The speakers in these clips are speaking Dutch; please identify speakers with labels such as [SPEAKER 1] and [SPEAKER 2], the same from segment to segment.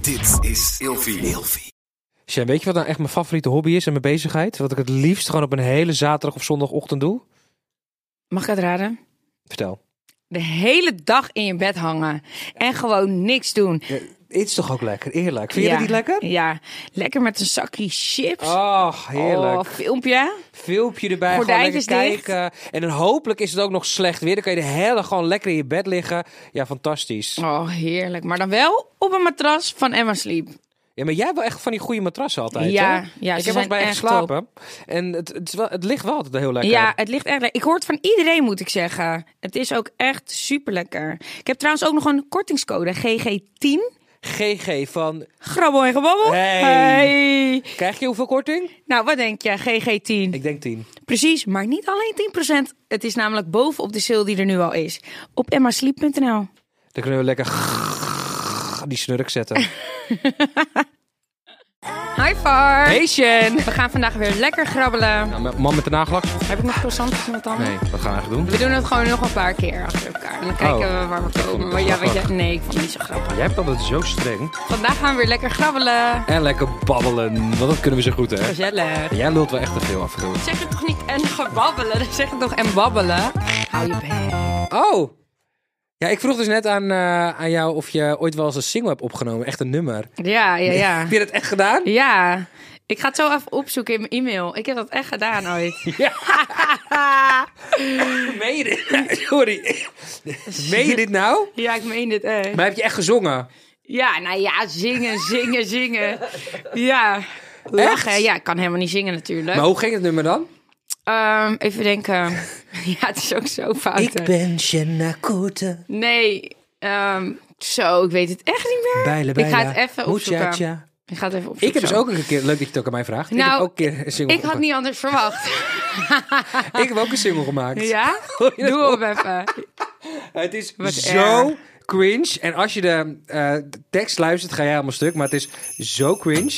[SPEAKER 1] Dit is Ilfie.
[SPEAKER 2] Sjen, weet je wat nou echt mijn favoriete hobby is en mijn bezigheid? Wat ik het liefst gewoon op een hele zaterdag of zondagochtend doe?
[SPEAKER 3] Mag ik het raden?
[SPEAKER 2] Vertel.
[SPEAKER 3] De hele dag in je bed hangen. En gewoon niks doen.
[SPEAKER 2] Het is toch ook lekker, eerlijk.
[SPEAKER 3] Ja.
[SPEAKER 2] Vind je dat niet lekker?
[SPEAKER 3] Ja. Lekker met een zakje chips.
[SPEAKER 2] Oh, heerlijk.
[SPEAKER 3] Oh, filmpje.
[SPEAKER 2] Filmpje erbij, gewoon lekker
[SPEAKER 3] Gordijntjes dicht.
[SPEAKER 2] kijken. En dan hopelijk is het ook nog slecht weer. Dan kan je de hele dag gewoon lekker in je bed liggen. Ja, fantastisch.
[SPEAKER 3] Oh, heerlijk. Maar dan wel op een matras van Emma Sleep.
[SPEAKER 2] Ja, maar jij hebt wel echt van die goede matrassen altijd,
[SPEAKER 3] Ja, ja,
[SPEAKER 2] hè?
[SPEAKER 3] ze
[SPEAKER 2] Ik heb wel
[SPEAKER 3] zijn
[SPEAKER 2] eens bij je
[SPEAKER 3] echt
[SPEAKER 2] geslapen. En het, het, is wel, het ligt wel altijd heel lekker.
[SPEAKER 3] Ja, het ligt echt lekker. Ik hoor het van iedereen, moet ik zeggen. Het is ook echt super lekker. Ik heb trouwens ook nog een kortingscode: GG10.
[SPEAKER 2] GG van...
[SPEAKER 3] Grabbel en gebabbel.
[SPEAKER 2] Hey.
[SPEAKER 3] Hey.
[SPEAKER 2] Krijg je hoeveel korting?
[SPEAKER 3] Nou, wat denk je? GG10.
[SPEAKER 2] Ik denk 10.
[SPEAKER 3] Precies, maar niet alleen 10%. Het is namelijk bovenop de sale die er nu al is. Op emmasleep.nl.
[SPEAKER 2] Dan kunnen we lekker die snurk zetten.
[SPEAKER 3] Hi Far.
[SPEAKER 2] Hey Sjen!
[SPEAKER 3] We gaan vandaag weer lekker grabbelen.
[SPEAKER 2] Nou, mijn man met de nagelak?
[SPEAKER 3] Heb ik nog croissantjes met tanden?
[SPEAKER 2] Nee, wat gaan we eigenlijk doen?
[SPEAKER 3] We doen het gewoon nog een paar keer achter elkaar. En dan kijken we waar we komen. Maar ja, weet je, nee, ik vond het niet zo grappig.
[SPEAKER 2] Jij hebt altijd zo streng.
[SPEAKER 3] Vandaag gaan we weer lekker grabbelen.
[SPEAKER 2] En lekker babbelen, want dat kunnen we zo goed, hè?
[SPEAKER 3] Gezellig.
[SPEAKER 2] Jij lult wel echt te veel af en toe.
[SPEAKER 3] Zeg het toch niet en gebabbelen? Dan Zeg het toch en babbelen? Hou je bek.
[SPEAKER 2] Oh! Ja, ik vroeg dus net aan, eh, aan jou of je ooit wel eens een single hebt opgenomen. Echt een nummer.
[SPEAKER 3] Ja, ja, ja.
[SPEAKER 2] Heb je dat echt gedaan?
[SPEAKER 3] Ja. Ik ga het zo even opzoeken in mijn e-mail. Ik heb dat echt gedaan ooit.
[SPEAKER 2] Meen je dit? Sorry. Meen je dit nou?
[SPEAKER 3] Ja, ik meen dit echt.
[SPEAKER 2] Maar heb je echt gezongen?
[SPEAKER 3] Ja, nou ja, zingen, zingen, zingen. Ja. Lachen,
[SPEAKER 2] Echt?
[SPEAKER 3] ja, ik kan helemaal niet zingen natuurlijk.
[SPEAKER 2] Maar hoe ging het nummer dan?
[SPEAKER 3] Ehm, even denken. ja, het is ook zo fout. hè.
[SPEAKER 2] ben Jenna Koete.
[SPEAKER 3] Nee, ehm, zo, ik weet het echt niet meer.
[SPEAKER 2] Bijle, bijle.
[SPEAKER 3] Ik ga het even opzoeken.
[SPEAKER 2] Muchacha.
[SPEAKER 3] Ik ga het even opzoeken.
[SPEAKER 2] Ik heb dus ook een keer, leuk dat je het ook aan mij vraagt. ik
[SPEAKER 3] Nou,
[SPEAKER 2] heb ook een keer een single
[SPEAKER 3] Ik had niet anders verwacht.
[SPEAKER 2] gemaakt. Ik heb ook een single gemaakt.
[SPEAKER 3] Ja?
[SPEAKER 2] Hoor je dat
[SPEAKER 3] Doe op even.
[SPEAKER 2] Het is
[SPEAKER 3] Wat
[SPEAKER 2] zo cringe. En als je de eh, de tekst luistert, ga jij helemaal stuk. Maar het is zo cringe.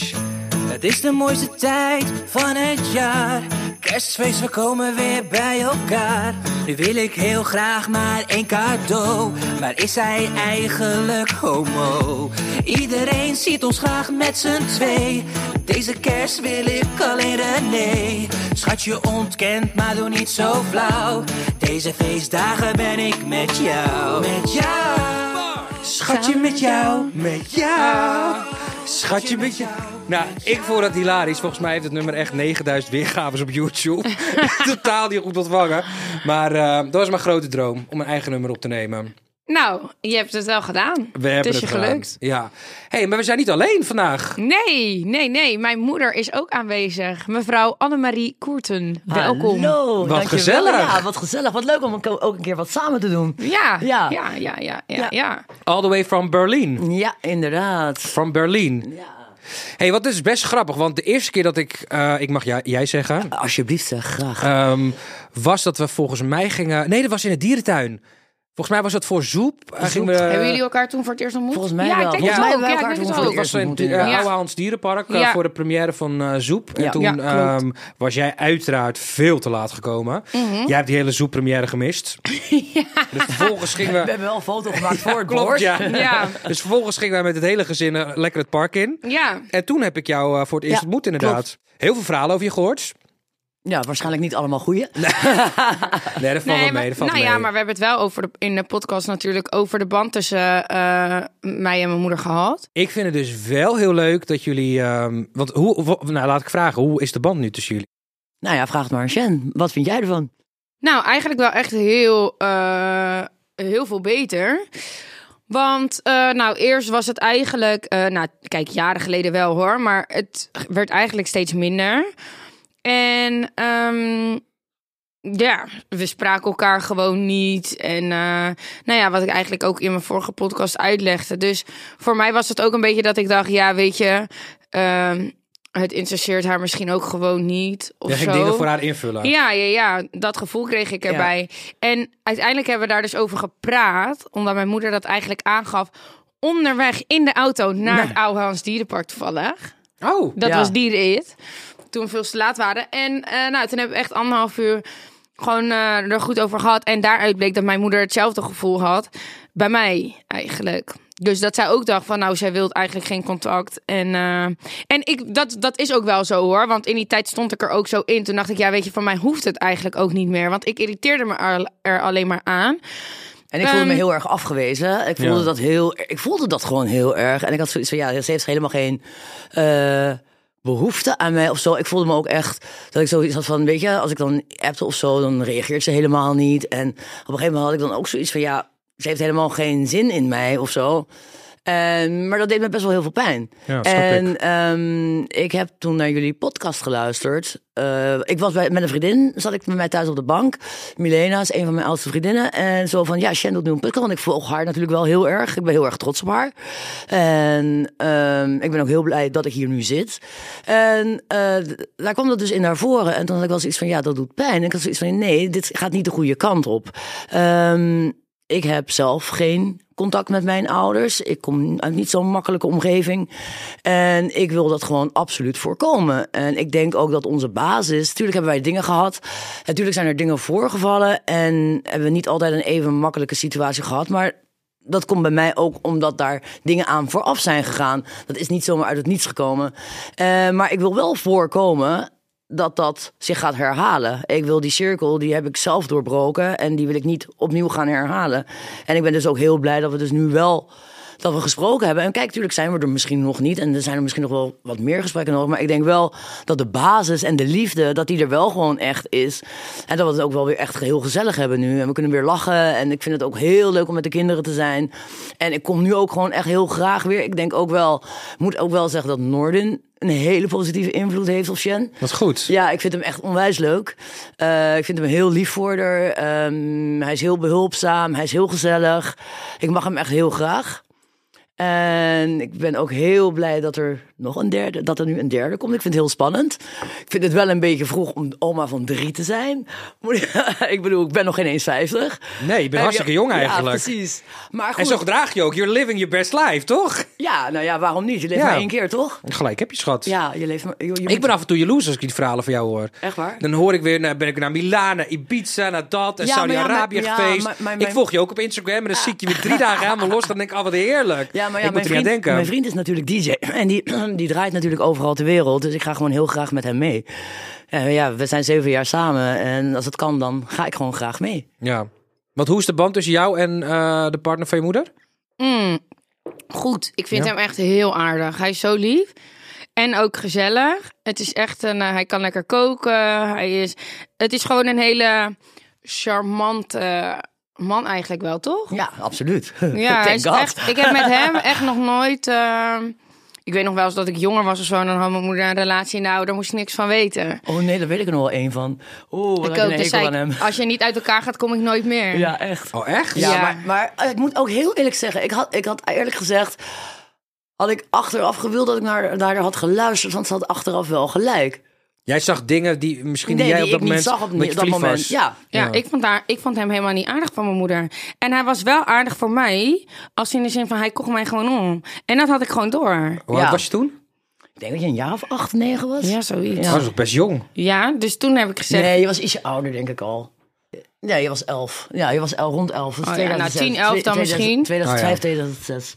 [SPEAKER 4] Het is de mooiste tijd van het jaar. Kerstfeest, we komen weer bij elkaar. Nu wil ik heel graag maar één cadeau. Maar is hij eigenlijk homo? Iedereen ziet ons graag met z'n twee. Deze kerst wil ik alleen René. Schat, je ontkent, maar doe niet zo flauw. Deze feestdagen ben ik met jou. Met jou.
[SPEAKER 2] Schatje met jou, met jou. Schatje met jou. Nou, ik vond dat hilarisch. Volgens mij heeft het nummer echt 9000 weergaves op YouTube. Totaal niet goed ontvangen. Maar eh, dat was mijn grote droom, om mijn eigen nummer op te nemen.
[SPEAKER 3] Nou, je hebt het wel gedaan.
[SPEAKER 2] We hebben
[SPEAKER 3] het is
[SPEAKER 2] het
[SPEAKER 3] je
[SPEAKER 2] gedaan.
[SPEAKER 3] gelukt.
[SPEAKER 2] Ja. hey, maar we zijn niet alleen vandaag.
[SPEAKER 3] Nee, nee, nee. Mijn moeder is ook aanwezig. Mevrouw Annemarie Koerten. Welkom.
[SPEAKER 5] Hallo,
[SPEAKER 2] Wat
[SPEAKER 5] dankjewel.
[SPEAKER 2] gezellig.
[SPEAKER 5] Ja, wat gezellig. Wat leuk om een ko- ook een keer wat samen te doen.
[SPEAKER 3] Ja, ja,
[SPEAKER 5] Ja.
[SPEAKER 3] ja, ja, ja, ja.
[SPEAKER 5] Ja.
[SPEAKER 2] All the way from Berlin.
[SPEAKER 5] Ja, inderdaad.
[SPEAKER 2] From Berlin.
[SPEAKER 5] Ja.
[SPEAKER 2] hey, wat is best grappig, want de eerste keer dat ik... eh, ik mag jij- jij zeggen.
[SPEAKER 5] Alsjeblieft, zeg graag.
[SPEAKER 2] Ehm, was dat we volgens mij gingen. Nee, dat was in de dierentuin. Volgens mij was dat voor Zoep. Eh, gingen we,
[SPEAKER 3] Hebben jullie elkaar toen voor het eerst ontmoet?
[SPEAKER 5] Volgens mij
[SPEAKER 3] ja,
[SPEAKER 5] wel.
[SPEAKER 3] Ik denk
[SPEAKER 5] Volgens
[SPEAKER 3] het
[SPEAKER 5] mij
[SPEAKER 3] ook.
[SPEAKER 5] hebben
[SPEAKER 3] Ja,
[SPEAKER 5] wij
[SPEAKER 3] ik denk
[SPEAKER 5] elkaar
[SPEAKER 3] het ook.
[SPEAKER 5] toen
[SPEAKER 2] dat was
[SPEAKER 5] voor
[SPEAKER 2] in het
[SPEAKER 5] ontmoet, inderdaad.
[SPEAKER 2] Oude Hans Dierenpark eh,
[SPEAKER 3] Oh. Ja.
[SPEAKER 2] voor de première van eh, Zoep. En
[SPEAKER 5] Ja.
[SPEAKER 2] toen
[SPEAKER 5] Ja, klopt.
[SPEAKER 2] ehm, was jij uiteraard veel te laat gekomen.
[SPEAKER 3] Mhm.
[SPEAKER 2] Jij hebt die hele Zoep-première gemist. Dus vervolgens gingen
[SPEAKER 5] We
[SPEAKER 2] we...
[SPEAKER 5] hebben wel een foto gemaakt voor het
[SPEAKER 2] Klopt,
[SPEAKER 5] bord.
[SPEAKER 2] ja.
[SPEAKER 3] Ja.
[SPEAKER 2] Dus vervolgens gingen wij met het hele gezin eh, lekker het park in.
[SPEAKER 3] Ja.
[SPEAKER 2] En toen heb ik jou eh, voor het eerst
[SPEAKER 5] Ja,
[SPEAKER 2] ontmoet, inderdaad. Heel veel verhalen over je gehoord.
[SPEAKER 5] Ja, waarschijnlijk niet allemaal goeie.
[SPEAKER 2] Nee, dat valt wel mee.
[SPEAKER 3] maar,
[SPEAKER 2] dat valt
[SPEAKER 3] nou
[SPEAKER 2] mee.
[SPEAKER 3] ja, maar we hebben het wel over de, in de podcast natuurlijk over de band tussen eh, mij en mijn moeder gehad.
[SPEAKER 2] Ik vind het dus wel heel leuk dat jullie. ehm, want hoe, wa- nou laat ik vragen, hoe is de band nu tussen jullie?
[SPEAKER 5] Nou ja, vraag het maar aan Shen. Wat vind jij ervan?
[SPEAKER 3] Nou, eigenlijk wel echt heel, eh, heel veel beter. Want, eh, nou, eerst was het eigenlijk, eh, nou, kijk, jaren geleden wel hoor, maar het werd eigenlijk steeds minder. En, ehm, ja, we spraken elkaar gewoon niet. En, eh, nou ja, wat ik eigenlijk ook in mijn vorige podcast uitlegde. Dus voor mij was het ook een beetje dat ik dacht, ja, weet je, ehm, het interesseert haar misschien ook gewoon niet. Of
[SPEAKER 2] Ja,
[SPEAKER 3] zo.
[SPEAKER 2] ging dingen voor haar invullen.
[SPEAKER 3] Ja, ja, ja, dat gevoel kreeg ik erbij. En uiteindelijk hebben we daar dus over gepraat, omdat mijn moeder dat eigenlijk aangaf. Onderweg in de auto naar het Oude Hans Dierenpark toevallig.
[SPEAKER 2] Oh,
[SPEAKER 3] Dat
[SPEAKER 5] Ja.
[SPEAKER 3] was dierenit. Toen we veel te laat waren. En eh, nou, toen hebben we echt anderhalf uur gewoon eh, er goed over gehad. En daaruit bleek dat mijn moeder hetzelfde gevoel had. Bij mij eigenlijk. Dus dat zij ook dacht van, nou, zij wil eigenlijk geen contact. En, eh, en ik, dat, dat is ook wel zo hoor. Want in die tijd stond ik er ook zo in. Toen dacht ik, ja, weet je, van mij hoeft het eigenlijk ook niet meer. Want ik irriteerde me er, er alleen maar aan.
[SPEAKER 5] En ik voelde me
[SPEAKER 3] Ehm,
[SPEAKER 5] heel erg afgewezen. Ik voelde,
[SPEAKER 2] Ja.
[SPEAKER 5] dat heel, ik voelde dat gewoon heel erg. En ik had zoiets van, ja, ze heeft helemaal geen eh, behoefte aan mij of zo. Ik voelde me ook echt, dat ik zoiets had van, weet je, als ik dan appte of zo, dan reageert ze helemaal niet. En op een gegeven moment had ik dan ook zoiets van, ja, ze heeft helemaal geen zin in mij of zo. En, Ehm, maar dat deed me best wel heel veel pijn.
[SPEAKER 2] Ja, snap
[SPEAKER 5] en ehm, ik heb toen naar jullie podcast geluisterd. Eh, ik was bij, met een vriendin, zat ik met mij thuis op de bank. Milena is een van mijn oudste vriendinnen. En zo van, ja, Shen doet nu een podcast. Want ik volg haar natuurlijk wel heel erg. Ik ben heel erg trots op haar. En ehm, ik ben ook heel blij dat ik hier nu zit. En eh, d- daar kwam dat dus in naar voren. En toen had ik wel zoiets van, ja, dat doet pijn. En ik had zoiets van, nee, dit gaat niet de goede kant op. Ehm, ik heb zelf geen contact met mijn ouders. Ik kom uit niet zo'n makkelijke omgeving. En ik wil dat gewoon absoluut voorkomen. En ik denk ook dat onze basis... Tuurlijk hebben wij dingen gehad. Natuurlijk zijn er dingen voorgevallen. En hebben we niet altijd een even makkelijke situatie gehad. Maar dat komt bij mij ook omdat daar dingen aan vooraf zijn gegaan. Dat is niet zomaar uit het niets gekomen. Eh, maar ik wil wel voorkomen dat dat zich gaat herhalen. Ik wil die cirkel, die heb ik zelf doorbroken en die wil ik niet opnieuw gaan herhalen. En ik ben dus ook heel blij dat we dus nu wel dat we gesproken hebben. En kijk, natuurlijk zijn we er misschien nog niet en er zijn er misschien nog wel wat meer gesprekken nodig, maar ik denk wel dat de basis en de liefde dat die er wel gewoon echt is en dat we het ook wel weer echt heel gezellig hebben nu en we kunnen weer lachen en ik vind het ook heel leuk om met de kinderen te zijn. En ik kom nu ook gewoon echt heel graag weer. Ik denk ook wel, moet ook wel zeggen dat Norden een hele positieve invloed heeft op Shen.
[SPEAKER 2] Dat is goed.
[SPEAKER 5] Ja, ik vind hem echt onwijs leuk. Eh, ik vind hem heel lief voor haar. Ehm, hij is heel behulpzaam. Hij is heel gezellig. Ik mag hem echt heel graag. En ik ben ook heel blij dat er nog een derde, dat er nu een derde komt. Ik vind het heel spannend. Ik vind het wel een beetje vroeg om oma van drie te zijn. Moet ik- ik bedoel, ik ben nog geen eens 50.
[SPEAKER 2] Nee,
[SPEAKER 3] Eh,
[SPEAKER 2] je bent hartstikke jong eigenlijk.
[SPEAKER 5] Ja, precies. Maar goed,
[SPEAKER 2] En zo gedraag je ook. You're living your best life, toch?
[SPEAKER 5] ja, nou ja, waarom niet? Je leeft
[SPEAKER 2] Ja.
[SPEAKER 5] maar één keer, toch?
[SPEAKER 2] Gelijk heb je, schat.
[SPEAKER 5] Ja, je leeft maar... je- je
[SPEAKER 2] Ik
[SPEAKER 5] moet-
[SPEAKER 2] ben af en toe jaloers als ik die verhalen van jou hoor.
[SPEAKER 5] Echt waar?
[SPEAKER 2] Dan hoor ik weer, nou, ben ik naar Milaan, naar Ibiza, naar dat en
[SPEAKER 5] Ja, maar ja,
[SPEAKER 2] Saudi-Arabië
[SPEAKER 5] maar- ja,
[SPEAKER 2] geweest.
[SPEAKER 5] maar- maar-
[SPEAKER 2] Ik
[SPEAKER 5] mijn- Ah.
[SPEAKER 2] volg je ook op Instagram en dan zie ik je weer drie dagen helemaal los. Dan denk ik, oh wat heerlijk.
[SPEAKER 5] Ja, maar ja,
[SPEAKER 2] ik moet er
[SPEAKER 5] mijn,
[SPEAKER 2] niet
[SPEAKER 5] vriend,
[SPEAKER 2] aan denken.
[SPEAKER 5] mijn vriend is natuurlijk DJ. En die, die draait natuurlijk overal ter wereld. Dus ik ga gewoon heel graag met hem mee. Ja, ja, we zijn zeven jaar samen. En als het kan, dan ga ik gewoon graag mee.
[SPEAKER 2] Ja. Want hoe is de band tussen jou en eh, de partner van je moeder?
[SPEAKER 3] Mm. Goed, ik vind
[SPEAKER 2] Ja.
[SPEAKER 3] hem echt heel aardig. Hij is zo lief en ook gezellig. Het is echt een, eh, hij kan lekker koken. Hij is, het is gewoon een hele charmante man eigenlijk wel, toch?
[SPEAKER 5] Ja, absoluut.
[SPEAKER 3] Ja, hij
[SPEAKER 5] Thank
[SPEAKER 3] is
[SPEAKER 5] God.
[SPEAKER 3] echt, ik heb met hem echt nog nooit. eh, ik weet nog wel eens dat ik jonger was of zo. En dan had mijn moeder een relatie. Nou, daar moest ik niks van weten.
[SPEAKER 5] Oh nee, daar weet ik er nog wel één van. Oeh, wat
[SPEAKER 3] ik
[SPEAKER 5] heb
[SPEAKER 3] ook.
[SPEAKER 5] ik een
[SPEAKER 3] Dus
[SPEAKER 5] hekel aan
[SPEAKER 3] zei
[SPEAKER 5] hem.
[SPEAKER 3] ik, als je niet uit elkaar gaat, kom ik nooit meer.
[SPEAKER 5] Ja, echt.
[SPEAKER 2] Oh, echt?
[SPEAKER 5] Ja,
[SPEAKER 3] Ja.
[SPEAKER 5] Maar, maar eh, ik moet ook heel eerlijk zeggen. Ik had, ik had eerlijk gezegd... Had ik achteraf gewild dat ik naar, naar haar had geluisterd. Want ze had achteraf wel gelijk.
[SPEAKER 2] Jij zag dingen die misschien
[SPEAKER 5] Nee,
[SPEAKER 2] jij
[SPEAKER 5] die
[SPEAKER 2] op dat
[SPEAKER 5] ik niet
[SPEAKER 2] moment...
[SPEAKER 5] zag op
[SPEAKER 2] omdat je
[SPEAKER 5] dat
[SPEAKER 2] verliefd
[SPEAKER 5] moment.
[SPEAKER 2] was.
[SPEAKER 5] Ja.
[SPEAKER 3] Ja,
[SPEAKER 2] Ja.
[SPEAKER 3] Ik, vond daar, ik vond hem helemaal niet aardig van mijn moeder. En hij was wel aardig voor mij. Als in de zin van, hij kocht mij gewoon om. En dat had ik gewoon door.
[SPEAKER 2] Hoe oud
[SPEAKER 5] Ja.
[SPEAKER 2] was je toen?
[SPEAKER 5] Ik denk dat je een jaar of acht, negen was.
[SPEAKER 3] Ja, zoiets.
[SPEAKER 2] Oh,
[SPEAKER 3] Ja,
[SPEAKER 2] dat was nog best jong.
[SPEAKER 3] dus toen heb ik gezegd...
[SPEAKER 5] Nee, je was ietsje ouder, denk ik al. Ja, je was elf. Ja, je was el- rond elf. Dat is
[SPEAKER 3] Oh ja, nou, 10,
[SPEAKER 5] 2006.
[SPEAKER 3] 11 dan
[SPEAKER 5] 2000,
[SPEAKER 3] misschien.
[SPEAKER 5] 2005,
[SPEAKER 2] Oh ja.
[SPEAKER 5] 2006.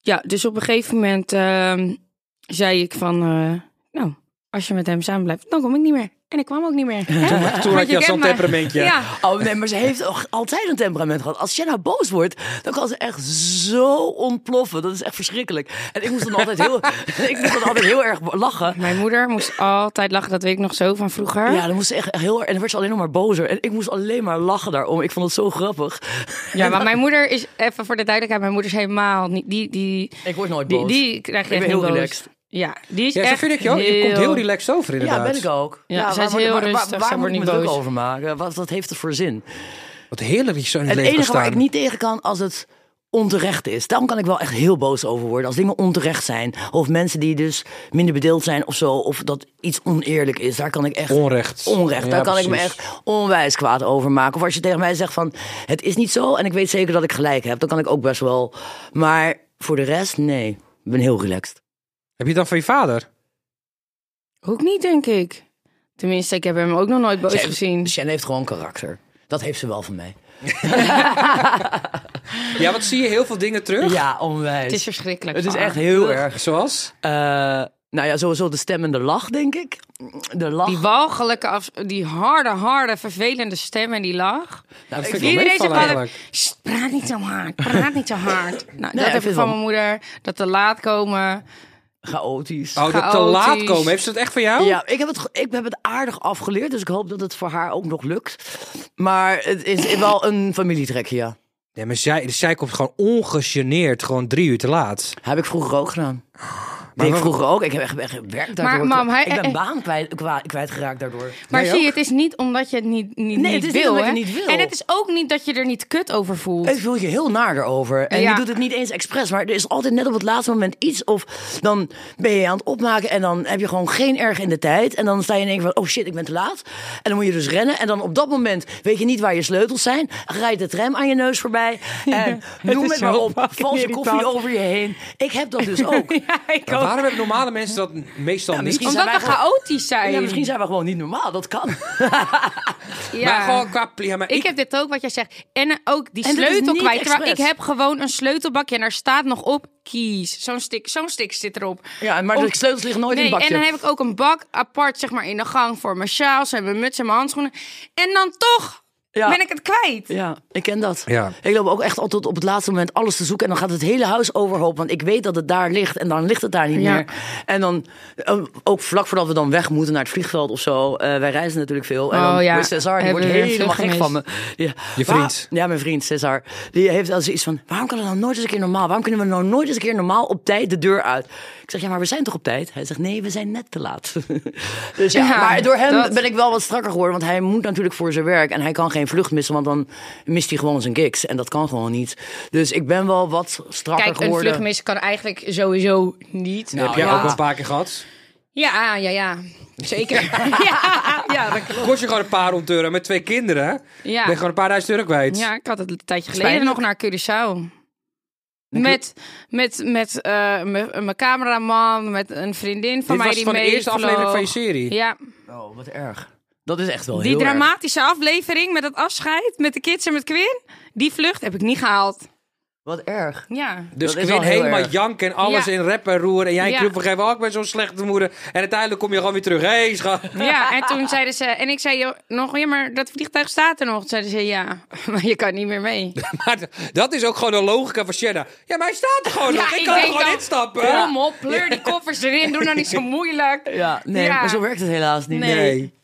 [SPEAKER 3] Ja, dus op een gegeven moment ehm, zei ik van... eh, nou, als je met hem samen blijft, dan kom ik niet meer. En ik kwam ook niet meer. Hè?
[SPEAKER 2] Toen had
[SPEAKER 3] Want
[SPEAKER 2] je al
[SPEAKER 3] kent
[SPEAKER 2] zo'n
[SPEAKER 3] me.
[SPEAKER 2] temperamentje.
[SPEAKER 3] Ja,
[SPEAKER 5] Oh nee, maar ze heeft ook altijd een temperament gehad. Als Jenna boos wordt, dan kan ze echt zo ontploffen. Dat is echt verschrikkelijk. En ik moest dan altijd heel, ik moest dan altijd heel erg lachen.
[SPEAKER 3] mijn moeder moest altijd lachen. Dat weet ik nog zo van vroeger.
[SPEAKER 5] Ja, dan moest ze echt heel erg. En dan werd ze alleen nog maar bozer. En ik moest alleen maar lachen daarom. Ik vond het zo grappig.
[SPEAKER 3] Ja, maar mijn moeder is, even voor de duidelijkheid, mijn moeder is helemaal niet. Die, die,
[SPEAKER 5] Ik word nooit
[SPEAKER 3] die,
[SPEAKER 5] boos.
[SPEAKER 3] die krijg je
[SPEAKER 5] Ik
[SPEAKER 3] echt
[SPEAKER 5] ben heel
[SPEAKER 3] niet boos.
[SPEAKER 5] relaxed.
[SPEAKER 3] Ja, die is
[SPEAKER 2] Ja, zo
[SPEAKER 3] echt.
[SPEAKER 2] vind ik je ook. Je komt heel relaxed over inderdaad.
[SPEAKER 5] ja, ben ik ook.
[SPEAKER 3] Ja, zij is
[SPEAKER 5] waar-
[SPEAKER 3] heel
[SPEAKER 5] waar- waar-
[SPEAKER 3] rustig, zij
[SPEAKER 5] Waar moet
[SPEAKER 3] wordt
[SPEAKER 5] ik me
[SPEAKER 3] niet
[SPEAKER 5] druk
[SPEAKER 3] boos.
[SPEAKER 5] over maken? Wat, wat heeft het voor zin?
[SPEAKER 2] Wat heerlijk die zo in het,
[SPEAKER 5] Het
[SPEAKER 2] leven
[SPEAKER 5] enige waar
[SPEAKER 2] staan.
[SPEAKER 5] ik niet tegen kan als het onterecht is. Daarom kan ik wel echt heel boos over worden. Als dingen onterecht zijn. Of mensen die dus minder bedeeld zijn of zo. Of dat iets oneerlijk is. Daar kan ik echt...
[SPEAKER 2] Onrecht.
[SPEAKER 5] Onrecht.
[SPEAKER 2] Ja,
[SPEAKER 5] daar kan ik me
[SPEAKER 2] precies.
[SPEAKER 5] echt onwijs kwaad over maken. Of als je tegen mij zegt van... Het is niet zo en ik weet zeker dat ik gelijk heb. Dan kan ik ook best wel... Maar voor de rest, nee. Ik ben heel relaxed.
[SPEAKER 2] Heb je het dan van je vader?
[SPEAKER 3] Ook niet, denk ik. Tenminste, ik heb hem ook nog nooit boos
[SPEAKER 5] Zij-
[SPEAKER 3] gezien.
[SPEAKER 5] Shen heeft gewoon karakter. Dat heeft ze wel van mij.
[SPEAKER 2] Ja, wat zie je heel veel dingen terug?
[SPEAKER 5] Ja, onwijs.
[SPEAKER 3] Het is verschrikkelijk.
[SPEAKER 5] Het is
[SPEAKER 3] vaak.
[SPEAKER 5] echt heel erg.
[SPEAKER 2] Zoals?
[SPEAKER 5] Eh, nou ja, sowieso de stem en de lach, denk ik. De lach.
[SPEAKER 3] Die walgelijke, af, die harde, harde, vervelende stem en die lach.
[SPEAKER 2] Nou, dat
[SPEAKER 5] Ik
[SPEAKER 2] vind ik wel
[SPEAKER 3] Iedereen zegt
[SPEAKER 2] meevallen
[SPEAKER 3] altijd,
[SPEAKER 2] eigenlijk.
[SPEAKER 3] "Sst, praat niet zo hard, praat niet zo hard. Nou,
[SPEAKER 5] ik
[SPEAKER 3] dat heb ik van
[SPEAKER 5] vind wel-
[SPEAKER 3] mijn moeder, dat te laat komen.
[SPEAKER 5] Chaotisch.
[SPEAKER 2] Oh, dat te laat
[SPEAKER 3] chaotisch.
[SPEAKER 2] komen. Heeft ze dat echt van jou?
[SPEAKER 5] Ja, ik heb, het, ge- ik heb het aardig afgeleerd, dus ik hoop dat het voor haar ook nog lukt. Maar het is wel een familietrekje, ja.
[SPEAKER 2] Nee, maar zij, zij komt gewoon ongegeneerd, gewoon drie uur te laat.
[SPEAKER 5] Heb ik vroeger ook gedaan.
[SPEAKER 2] Maar
[SPEAKER 5] ik
[SPEAKER 2] wat-
[SPEAKER 5] vroeger ook. Ik heb echt, echt werk daardoor.
[SPEAKER 3] mam, hij-
[SPEAKER 5] ik ben
[SPEAKER 3] eh,
[SPEAKER 5] baan kwijt, kwa- kwijtgeraakt daardoor.
[SPEAKER 3] Maar
[SPEAKER 2] Jij
[SPEAKER 3] zie je,
[SPEAKER 2] ook?
[SPEAKER 3] het is niet omdat je het niet, niet,
[SPEAKER 5] Nee,
[SPEAKER 3] niet
[SPEAKER 5] het is niet
[SPEAKER 3] wil.
[SPEAKER 5] omdat je
[SPEAKER 3] hè?
[SPEAKER 5] niet wil.
[SPEAKER 3] En het is ook niet dat je er niet kut over voelt.
[SPEAKER 5] Ik voel je heel naar erover. En
[SPEAKER 3] Ja.
[SPEAKER 5] je doet het niet eens expres. Maar er is altijd net op het laatste moment iets. Of dan ben je aan het opmaken. En dan heb je gewoon geen erg in de tijd. En dan sta je in één keer van: oh shit, ik ben te laat. En dan moet je dus rennen. En dan op dat moment weet je niet waar je sleutels zijn. Rijdt de tram aan je neus voorbij. En noem
[SPEAKER 3] is
[SPEAKER 5] het maar
[SPEAKER 3] zo
[SPEAKER 5] op.
[SPEAKER 3] fucking
[SPEAKER 5] Valse
[SPEAKER 3] irritant.
[SPEAKER 5] koffie over je heen. Ik heb dat dus ook. Nou,
[SPEAKER 3] Ja, ik
[SPEAKER 2] Maar
[SPEAKER 3] ook.
[SPEAKER 2] waarom hebben normale mensen dat meestal niet?
[SPEAKER 5] misschien
[SPEAKER 3] Omdat
[SPEAKER 5] zijn
[SPEAKER 3] we
[SPEAKER 5] wij gewoon-
[SPEAKER 3] chaotisch zijn.
[SPEAKER 5] Ja, misschien zijn we gewoon niet normaal. Dat kan.
[SPEAKER 3] Ja.
[SPEAKER 2] Maar gewoon qua... Ja, maar
[SPEAKER 3] Ik heb dit ook wat jij zegt. En eh, ook die
[SPEAKER 5] En dit is
[SPEAKER 3] sleutel
[SPEAKER 5] niet
[SPEAKER 3] kwijt. Terwijl ik
[SPEAKER 5] expres.
[SPEAKER 3] heb gewoon een sleutelbakje en daar staat nog op kies. Zo'n stick, zo'n stick zit erop.
[SPEAKER 5] Ja, maar
[SPEAKER 3] Om-
[SPEAKER 5] de sleutels liggen nooit
[SPEAKER 3] nee,
[SPEAKER 5] in het bakje.
[SPEAKER 3] en dan heb ik ook een bak apart zeg maar in de gang voor mijn sjaals en mijn muts en mijn handschoenen. En dan toch
[SPEAKER 5] Ja.
[SPEAKER 3] ben ik het kwijt.
[SPEAKER 5] Ja, ik ken dat.
[SPEAKER 2] Ja.
[SPEAKER 5] Ik loop ook echt altijd op het laatste moment alles te zoeken. En dan gaat het hele huis overhoop. Want ik weet dat het daar ligt. En dan ligt het daar niet
[SPEAKER 3] Ja.
[SPEAKER 5] meer. En dan eh, ook vlak voordat we dan weg moeten naar het vliegveld of zo. eh, wij reizen natuurlijk veel. En
[SPEAKER 3] Oh,
[SPEAKER 5] dan
[SPEAKER 3] ja.
[SPEAKER 5] wordt César, die
[SPEAKER 3] Hebben
[SPEAKER 5] wordt
[SPEAKER 3] we weer een
[SPEAKER 5] helemaal gek
[SPEAKER 3] vlucht
[SPEAKER 5] van me. Ja.
[SPEAKER 2] Je
[SPEAKER 5] Waar-
[SPEAKER 2] vriend.
[SPEAKER 5] ja, mijn vriend César. Die heeft als iets van, waarom kan het nou nooit eens een keer normaal? Waarom kunnen we nou nooit eens een keer normaal op tijd de deur uit? Ik zeg, ja, maar we zijn toch op tijd? Hij zegt, nee, we zijn net te laat. dus ja,
[SPEAKER 3] Ja,
[SPEAKER 5] maar door hem
[SPEAKER 3] dat-
[SPEAKER 5] ben ik wel wat strakker geworden. Want hij moet natuurlijk voor zijn werk. En hij kan geen vlucht missen, want dan mist hij gewoon zijn gigs. En dat kan gewoon niet. Dus ik ben wel wat strakker
[SPEAKER 3] Kijk, een
[SPEAKER 5] geworden.
[SPEAKER 3] vlucht missen kan eigenlijk sowieso niet.
[SPEAKER 2] heb jij
[SPEAKER 5] Oh, ja.
[SPEAKER 2] ook een paar keer gehad?
[SPEAKER 3] Ja, ja, ja. Zeker. ja, ja, dat klopt.
[SPEAKER 2] Kost je gewoon een paar honderd euro met twee kinderen. hè? Ben
[SPEAKER 3] Ja.
[SPEAKER 2] je gewoon een paar duizend euro kwijt.
[SPEAKER 3] Ja, ik had het een tijdje geleden
[SPEAKER 5] Spijtelijk.
[SPEAKER 3] nog naar Curaçao. Met, met, met eh, mijn mijn cameraman, met een vriendin van
[SPEAKER 2] Dit
[SPEAKER 3] mij
[SPEAKER 2] was
[SPEAKER 3] die
[SPEAKER 2] van de
[SPEAKER 3] mee
[SPEAKER 2] eerste aflevering
[SPEAKER 3] vloog.
[SPEAKER 2] van je serie.
[SPEAKER 3] Ja,
[SPEAKER 5] Oh, wat erg. Dat is echt wel
[SPEAKER 3] die
[SPEAKER 5] heel erg.
[SPEAKER 3] dramatische aflevering met het afscheid, met de kids en met Quinn. Die vlucht heb ik niet gehaald.
[SPEAKER 5] Wat erg.
[SPEAKER 3] Ja.
[SPEAKER 2] Dus
[SPEAKER 5] Dat is
[SPEAKER 2] Quinn
[SPEAKER 5] wel heel
[SPEAKER 2] helemaal
[SPEAKER 5] erg.
[SPEAKER 2] jank en alles
[SPEAKER 3] Ja.
[SPEAKER 2] in rep en roer. En jij
[SPEAKER 3] Ja.
[SPEAKER 2] ja. kruip vergeven, oh, ik ben zo'n slechte moeder. En uiteindelijk kom je gewoon weer terug. Hé, hey, schat.
[SPEAKER 3] Ja, en toen zeiden ze... En ik zei joh, nog, ja, maar dat vliegtuig staat er nog. Toen zeiden ze, ja, maar je kan niet meer mee.
[SPEAKER 2] Maar d- dat is ook gewoon de logica van Shanna. Ja, maar hij staat er gewoon nog. Ik kan er
[SPEAKER 3] denk
[SPEAKER 2] gewoon
[SPEAKER 3] dan,
[SPEAKER 2] instappen.
[SPEAKER 3] Kom op, pleur die koffers erin. Doe nou niet zo moeilijk.
[SPEAKER 5] Ja, nee,
[SPEAKER 3] Ja.
[SPEAKER 5] maar zo werkt het helaas niet.
[SPEAKER 3] Nee.
[SPEAKER 2] Nee.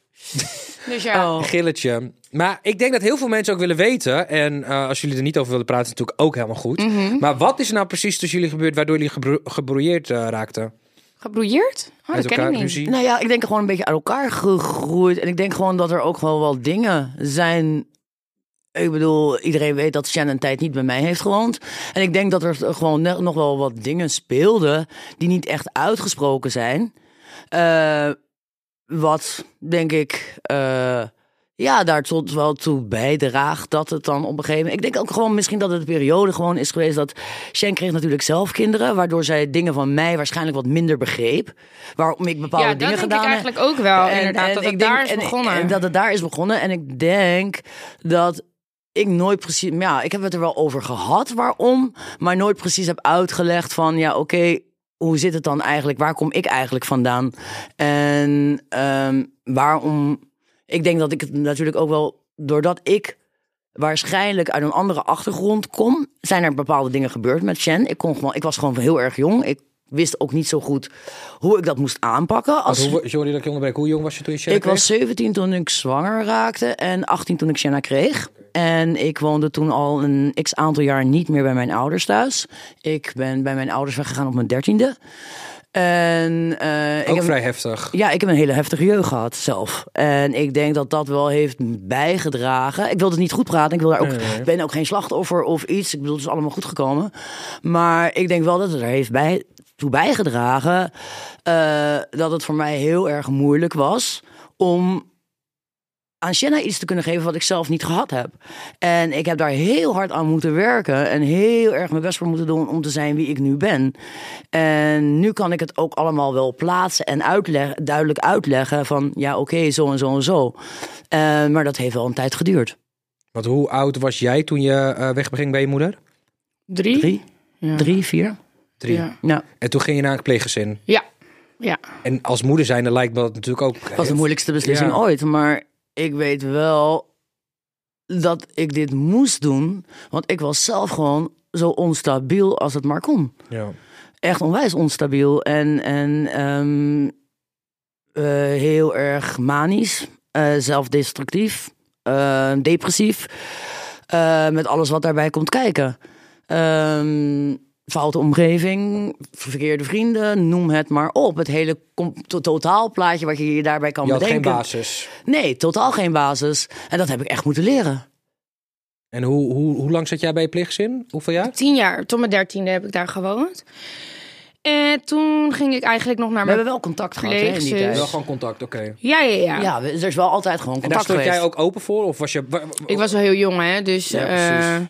[SPEAKER 3] Dus ja.
[SPEAKER 5] Oh.
[SPEAKER 2] Gilletje. Maar ik denk dat heel veel mensen ook willen weten. En eh, als jullie er niet over willen praten, is het natuurlijk ook helemaal goed.
[SPEAKER 3] Mhm.
[SPEAKER 2] Maar wat is er nou precies tussen jullie gebeurd waardoor jullie gebro gebroeierd eh, raakten?
[SPEAKER 3] Gebrouilleerd? Oh, dat
[SPEAKER 2] Met
[SPEAKER 3] ken ik
[SPEAKER 2] elkaar
[SPEAKER 3] niet.
[SPEAKER 2] ruzie?
[SPEAKER 5] Nou ja, ik denk gewoon een beetje uit elkaar gegroeid. En ik denk gewoon dat er ook gewoon wel dingen zijn. Ik bedoel, iedereen weet dat Shannon een tijd niet bij mij heeft gewoond. En ik denk dat er gewoon ne- nog wel wat dingen speelden die niet echt uitgesproken zijn. Eh, wat, denk ik, eh, ja, daar tot wel toe bijdraagt dat het dan op een gegeven moment... Ik denk ook gewoon misschien dat het een periode gewoon is geweest dat... Shen kreeg natuurlijk zelf kinderen, waardoor zij dingen van mij waarschijnlijk wat minder begreep. Waarom ik bepaalde
[SPEAKER 3] Ja, dat
[SPEAKER 5] dingen
[SPEAKER 3] denk ik
[SPEAKER 5] gedaan heb.
[SPEAKER 3] eigenlijk ook wel,
[SPEAKER 5] En-
[SPEAKER 3] inderdaad,
[SPEAKER 5] en
[SPEAKER 3] dat
[SPEAKER 5] ik
[SPEAKER 3] het
[SPEAKER 5] denk-
[SPEAKER 3] daar is
[SPEAKER 5] en-
[SPEAKER 3] begonnen.
[SPEAKER 5] En dat het daar is begonnen. En ik denk dat ik nooit precies... maar Ja, ik heb het er wel over gehad waarom, maar nooit precies heb uitgelegd van... Ja, oké, hoe zit het dan eigenlijk? Waar kom ik eigenlijk vandaan? En ehm, waarom... Ik denk dat ik het natuurlijk ook wel... Doordat ik waarschijnlijk uit een andere achtergrond kom, zijn er bepaalde dingen gebeurd met Shen. Ik, kon gewoon, ik was gewoon heel erg jong. Ik wist ook niet zo goed hoe ik dat moest aanpakken.
[SPEAKER 2] Want
[SPEAKER 5] Als,
[SPEAKER 2] hoe, sorry dat ik je onderbreek. Hoe jong was je toen je Shanna
[SPEAKER 5] ik
[SPEAKER 2] kreeg?
[SPEAKER 5] was 17 toen ik zwanger raakte en 18 toen ik Shanna kreeg. En ik woonde toen al een x aantal jaar niet meer bij mijn ouders thuis. Ik ben bij mijn ouders weggegaan op mijn dertiende. En eh, ik
[SPEAKER 2] Ook
[SPEAKER 5] heb-
[SPEAKER 2] vrij heftig.
[SPEAKER 5] ja, ik heb een hele heftige jeugd gehad zelf. En ik denk dat dat wel heeft bijgedragen. Ik wil het niet goed praten. Ik wil daar ook, ben ook geen slachtoffer of iets. Ik bedoel, het is allemaal goed gekomen. Maar ik denk wel dat het er heeft bij, toe bijgedragen... eh, dat het voor mij heel erg moeilijk was om aan Shanna iets te kunnen geven wat ik zelf niet gehad heb. En ik heb daar heel hard aan moeten werken en heel erg mijn best voor moeten doen om te zijn wie ik nu ben. En nu kan ik het ook allemaal wel plaatsen en uitleggen, duidelijk uitleggen van ja, oké, zo en zo en zo. Eh, maar dat heeft wel een tijd geduurd.
[SPEAKER 2] Want hoe oud was jij toen je eh wegbeging bij je moeder?
[SPEAKER 3] Drie?
[SPEAKER 5] Drie?
[SPEAKER 3] Ja.
[SPEAKER 5] Drie, vier?
[SPEAKER 2] Drie.
[SPEAKER 3] Ja.
[SPEAKER 5] Ja.
[SPEAKER 2] En toen ging je naar een pleeggezin.
[SPEAKER 3] Ja. ja.
[SPEAKER 2] En als moeder zijnde lijkt me dat natuurlijk ook...
[SPEAKER 5] Het was de moeilijkste beslissing
[SPEAKER 2] Ja.
[SPEAKER 5] ooit. Maar ik weet wel dat ik dit moest doen. Want ik was zelf gewoon zo onstabiel als het maar kon.
[SPEAKER 2] Ja.
[SPEAKER 5] Echt onwijs onstabiel. En, en ehm, eh, heel erg manisch. eh, zelfdestructief. eh, depressief. eh, met alles wat daarbij komt kijken. Ehm, foute omgeving, verkeerde vrienden, noem het maar op. Het hele com- to- totaalplaatje wat je je daarbij kan
[SPEAKER 2] Je had geen
[SPEAKER 5] bedenken.
[SPEAKER 2] basis.
[SPEAKER 5] Nee, totaal geen basis. En dat heb ik echt moeten leren.
[SPEAKER 2] En hoe, hoe, hoe lang zat jij bij je pleeggezin? Hoeveel jaar?
[SPEAKER 3] Tien jaar. Tot mijn dertiende heb ik daar gewoond. En toen ging ik eigenlijk nog naar
[SPEAKER 5] We hebben
[SPEAKER 3] mijn...
[SPEAKER 5] wel contact gehad hè, in die
[SPEAKER 3] Pleegzus.
[SPEAKER 5] tijd.
[SPEAKER 2] Wel gewoon contact, oké.
[SPEAKER 3] Ja, ja, ja.
[SPEAKER 5] Ja, we- er is wel altijd gewoon
[SPEAKER 2] En daar
[SPEAKER 5] contact
[SPEAKER 2] stond
[SPEAKER 5] geweest.
[SPEAKER 2] jij ook open voor? Of was je... wa- wa-
[SPEAKER 3] Ik was wel heel jong, hè. Dus
[SPEAKER 2] Ja,
[SPEAKER 3] ja,
[SPEAKER 2] precies.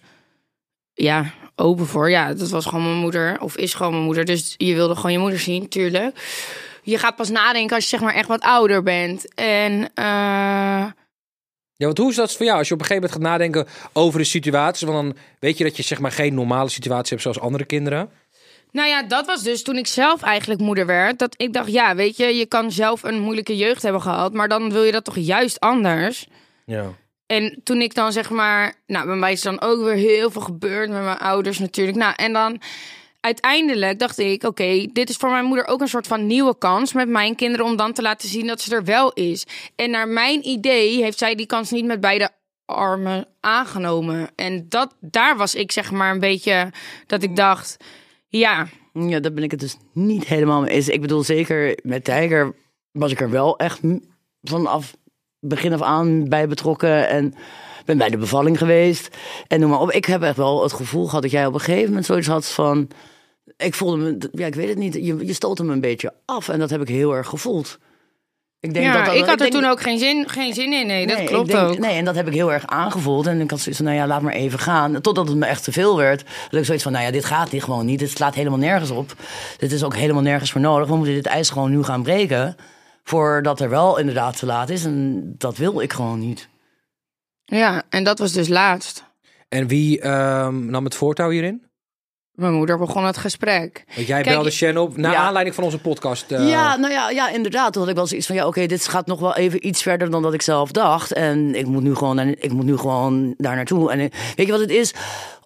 [SPEAKER 3] ja open voor. Ja, dat was gewoon mijn moeder. Of is gewoon mijn moeder. Dus je wilde gewoon je moeder zien, tuurlijk. Je gaat pas nadenken als je zeg maar echt wat ouder bent. En... eh,
[SPEAKER 2] Ja, want hoe is dat voor jou? Als je op een gegeven moment gaat nadenken over de situatie, want dan weet je dat je zeg maar geen normale situatie hebt zoals andere kinderen.
[SPEAKER 3] Nou ja, dat was dus toen ik zelf eigenlijk moeder werd. Dat ik dacht, ja, weet je, je kan zelf een moeilijke jeugd hebben gehad. Maar dan wil je dat toch juist anders.
[SPEAKER 2] Ja.
[SPEAKER 3] En toen ik dan zeg maar, nou, bij mij is dan ook weer heel veel gebeurd met mijn ouders natuurlijk. Nou, en dan uiteindelijk dacht ik, oké, dit is voor mijn moeder ook een soort van nieuwe kans met mijn kinderen om dan te laten zien dat ze er wel is. En naar mijn idee heeft zij die kans niet met beide armen aangenomen. En dat, daar was ik zeg maar een beetje dat ik dacht, ja,
[SPEAKER 5] Ja, daar ben ik het dus niet helemaal mee eens. Ik bedoel, zeker met Tiger was ik er wel echt m- vanaf begin af aan bij betrokken. En ben bij de bevalling geweest. En noem maar op. Ik heb echt wel het gevoel gehad dat jij op een gegeven moment zoiets had van... Ik voelde me... Ja, ik weet het niet. Je, je stoot hem een beetje af. En dat heb ik heel erg gevoeld. Ik denk
[SPEAKER 3] ja
[SPEAKER 5] dat, dat-
[SPEAKER 3] ik had er
[SPEAKER 5] denk-
[SPEAKER 3] toen ook geen zin, geen zin in. Nee, dat
[SPEAKER 5] Nee,
[SPEAKER 3] klopt
[SPEAKER 5] ik denk-
[SPEAKER 3] ook.
[SPEAKER 5] Nee, en dat heb ik heel erg aangevoeld. En ik had zoiets van, nou ja, laat maar even gaan. Totdat het me echt te veel werd. Dat ik zoiets van, nou ja, dit gaat hier gewoon niet. Dit slaat helemaal nergens op. Dit is ook helemaal nergens voor nodig. We moeten dit ijs gewoon nu gaan breken. Voordat er wel inderdaad te laat is. En dat wil ik gewoon niet.
[SPEAKER 3] Ja, en dat was dus laatst.
[SPEAKER 2] En wie ehm, nam het voortouw hierin?
[SPEAKER 3] Mijn moeder begon het gesprek.
[SPEAKER 2] Want jij
[SPEAKER 3] Kijk,
[SPEAKER 2] belde Shannon op naar
[SPEAKER 5] Ja.
[SPEAKER 2] aanleiding van onze podcast. eh,
[SPEAKER 5] Ja, nou ja, ja, inderdaad. Toen had ik wel zoiets van, ja, oké, dit gaat nog wel even iets verder dan dat ik zelf dacht. En ik moet nu gewoon, naar- ik moet nu gewoon daar naartoe. En eh, weet je wat het is?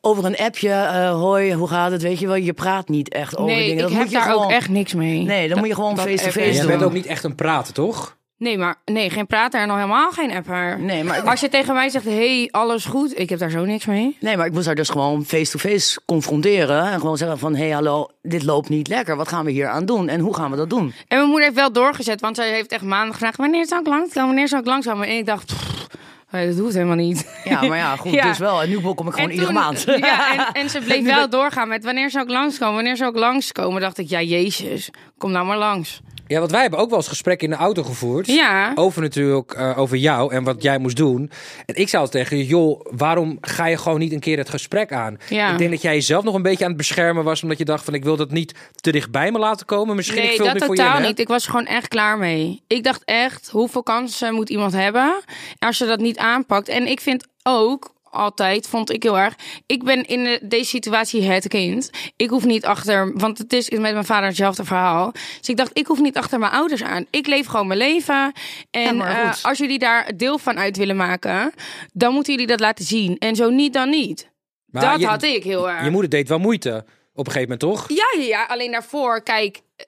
[SPEAKER 5] Over een appje, eh, hoi, hoe gaat het? Weet je wel, je praat niet echt over
[SPEAKER 3] Nee,
[SPEAKER 5] dingen.
[SPEAKER 3] ik
[SPEAKER 5] dat
[SPEAKER 3] heb
[SPEAKER 5] moet je
[SPEAKER 3] daar
[SPEAKER 5] gewoon...
[SPEAKER 3] ook echt niks mee.
[SPEAKER 5] Nee, dan moet je gewoon
[SPEAKER 3] dat
[SPEAKER 5] face-to-face
[SPEAKER 2] En
[SPEAKER 3] appen-
[SPEAKER 2] jij
[SPEAKER 5] doen.
[SPEAKER 2] bent ook niet echt een praten, toch?
[SPEAKER 3] Nee, maar nee, geen prater en al helemaal geen apper.
[SPEAKER 5] Nee, maar-
[SPEAKER 3] Als je tegen mij zegt, hey, alles goed, ik heb daar zo niks mee.
[SPEAKER 5] Nee, maar ik moest haar dus gewoon face-to-face confronteren. En gewoon zeggen van, hé, hey, hallo, dit loopt niet lekker. Wat gaan we hier aan doen? En hoe gaan we dat doen?
[SPEAKER 3] En mijn moeder heeft wel doorgezet, want zij heeft echt maanden gevraagd, wanneer zou ik langskomen, wanneer zou ik langskomen? En ik dacht, pff, eh, dat hoeft helemaal niet.
[SPEAKER 5] Ja, maar ja, goed,
[SPEAKER 3] Ja.
[SPEAKER 5] dus wel. En nu kom ik gewoon
[SPEAKER 3] En
[SPEAKER 5] iedere
[SPEAKER 3] toen-
[SPEAKER 5] maand.
[SPEAKER 3] Ja, en, en ze bleef wel doorgaan met wanneer zou ik langskomen, wanneer zou ik langskomen. Dacht ik, ja, jezus, kom nou maar langs.
[SPEAKER 2] Ja, want wij hebben ook wel eens gesprekken in de auto gevoerd.
[SPEAKER 3] Ja.
[SPEAKER 2] Over natuurlijk, eh, over jou en wat jij moest doen. En ik zou tegen je, joh, waarom ga je gewoon niet een keer het gesprek aan?
[SPEAKER 3] Ja.
[SPEAKER 2] Ik denk dat jij jezelf nog een beetje aan het beschermen was, omdat je dacht van, ik wil dat niet te dichtbij me laten komen. Misschien ik
[SPEAKER 3] nee,
[SPEAKER 2] vul
[SPEAKER 3] dat
[SPEAKER 2] dit voor
[SPEAKER 3] totaal
[SPEAKER 2] je in, hè?
[SPEAKER 3] niet. Ik was er gewoon echt klaar mee. Ik dacht echt, hoeveel kansen moet iemand hebben als je dat niet aanpakt? En ik vind ook altijd, vond ik heel erg, ik ben in eh, deze situatie het kind. Ik hoef niet achter, want het is met mijn vader hetzelfde verhaal. Dus ik dacht, ik hoef niet achter mijn ouders aan. Ik leef gewoon mijn leven. En
[SPEAKER 5] maar
[SPEAKER 3] eh,
[SPEAKER 5] goed.
[SPEAKER 3] als jullie daar deel van uit willen maken, dan moeten jullie dat laten zien. En zo niet, dan niet.
[SPEAKER 2] Maar
[SPEAKER 3] dat
[SPEAKER 2] je-
[SPEAKER 3] had ik heel erg.
[SPEAKER 2] Je moeder deed wel moeite op een gegeven moment, toch?
[SPEAKER 3] Ja, ja, ja. Alleen daarvoor, kijk, eh,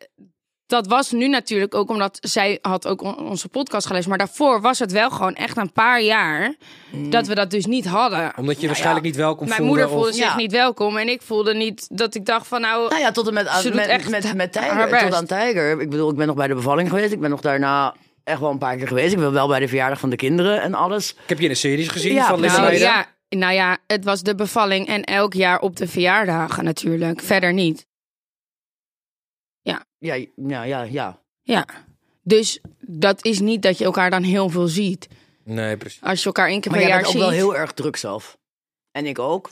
[SPEAKER 3] dat was nu natuurlijk ook omdat zij had ook on- onze podcast gelezen. Maar daarvoor was het wel gewoon echt een paar jaar
[SPEAKER 5] Hmm.
[SPEAKER 3] dat we dat dus niet hadden.
[SPEAKER 2] Omdat je waarschijnlijk niet welkom
[SPEAKER 3] Mijn
[SPEAKER 2] voelde.
[SPEAKER 3] moeder voelde
[SPEAKER 2] of...
[SPEAKER 3] zich
[SPEAKER 5] Ja.
[SPEAKER 3] niet welkom en ik voelde niet dat ik dacht van nou,
[SPEAKER 5] Nou ja, tot en met,
[SPEAKER 3] Ze doet
[SPEAKER 5] met,
[SPEAKER 3] echt
[SPEAKER 5] met, met
[SPEAKER 3] haar
[SPEAKER 5] Tiger.
[SPEAKER 3] best.
[SPEAKER 5] Tot aan Tiger. Ik bedoel, ik ben nog bij de bevalling geweest. Ik ben nog daarna echt wel een paar keer geweest. Ik ben wel bij de verjaardag van de kinderen en alles.
[SPEAKER 2] Ik heb je in een series gezien
[SPEAKER 5] Ja,
[SPEAKER 2] van Liz
[SPEAKER 5] precies.
[SPEAKER 3] nou
[SPEAKER 2] Leiden.
[SPEAKER 3] ja, nou ja, het was de bevalling en elk jaar op de verjaardagen natuurlijk. Verder niet.
[SPEAKER 5] Ja, ja, ja, ja.
[SPEAKER 3] Ja. Dus dat is niet dat je elkaar dan heel veel ziet.
[SPEAKER 2] Nee, precies.
[SPEAKER 3] Als je elkaar één keer
[SPEAKER 5] Maar
[SPEAKER 3] per
[SPEAKER 5] jij
[SPEAKER 3] jaar
[SPEAKER 5] bent ook
[SPEAKER 3] ziet.
[SPEAKER 5] wel heel erg druk zelf. En ik ook.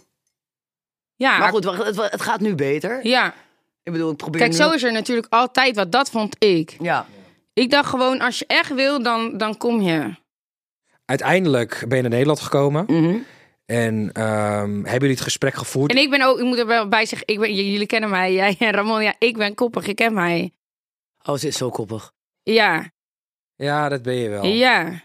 [SPEAKER 3] Ja,
[SPEAKER 5] Maar goed, wacht, het, het gaat nu beter.
[SPEAKER 3] ja.
[SPEAKER 5] Ik bedoel, ik probeer
[SPEAKER 3] Kijk,
[SPEAKER 5] nu...
[SPEAKER 3] zo is er natuurlijk altijd wat. Dat vond ik.
[SPEAKER 5] Ja.
[SPEAKER 3] Ik dacht gewoon, als je echt wil, dan, dan kom je.
[SPEAKER 2] Uiteindelijk ben je naar Nederland gekomen.
[SPEAKER 5] Mhm.
[SPEAKER 2] En ehm, hebben jullie het gesprek gevoerd?
[SPEAKER 3] En ik ben ook, ik moet er wel bij zeggen, ik ben, j- jullie kennen mij, jij en Ramon. Ja, ik ben koppig, je kent mij.
[SPEAKER 5] Oh, ze is zo koppig.
[SPEAKER 3] Ja,
[SPEAKER 2] Ja, dat ben je wel.
[SPEAKER 3] ja.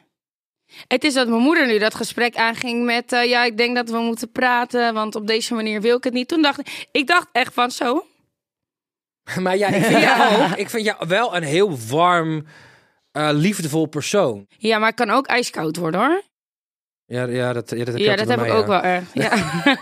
[SPEAKER 3] Het is dat mijn moeder nu dat gesprek aanging met, eh, ja, ik denk dat we moeten praten, want op deze manier wil ik het niet. Toen dacht ik, ik dacht echt van zo.
[SPEAKER 2] Maar ja, ik vind, jou ook, ik vind jou wel een heel warm, eh, liefdevol persoon.
[SPEAKER 3] Ja, maar het kan ook ijskoud worden hoor.
[SPEAKER 2] Ja, ja dat, ja, dat heb, je
[SPEAKER 3] Ja,
[SPEAKER 2] altijd
[SPEAKER 3] dat
[SPEAKER 2] bij
[SPEAKER 3] heb ik
[SPEAKER 2] mij, ja.
[SPEAKER 3] ook wel erg.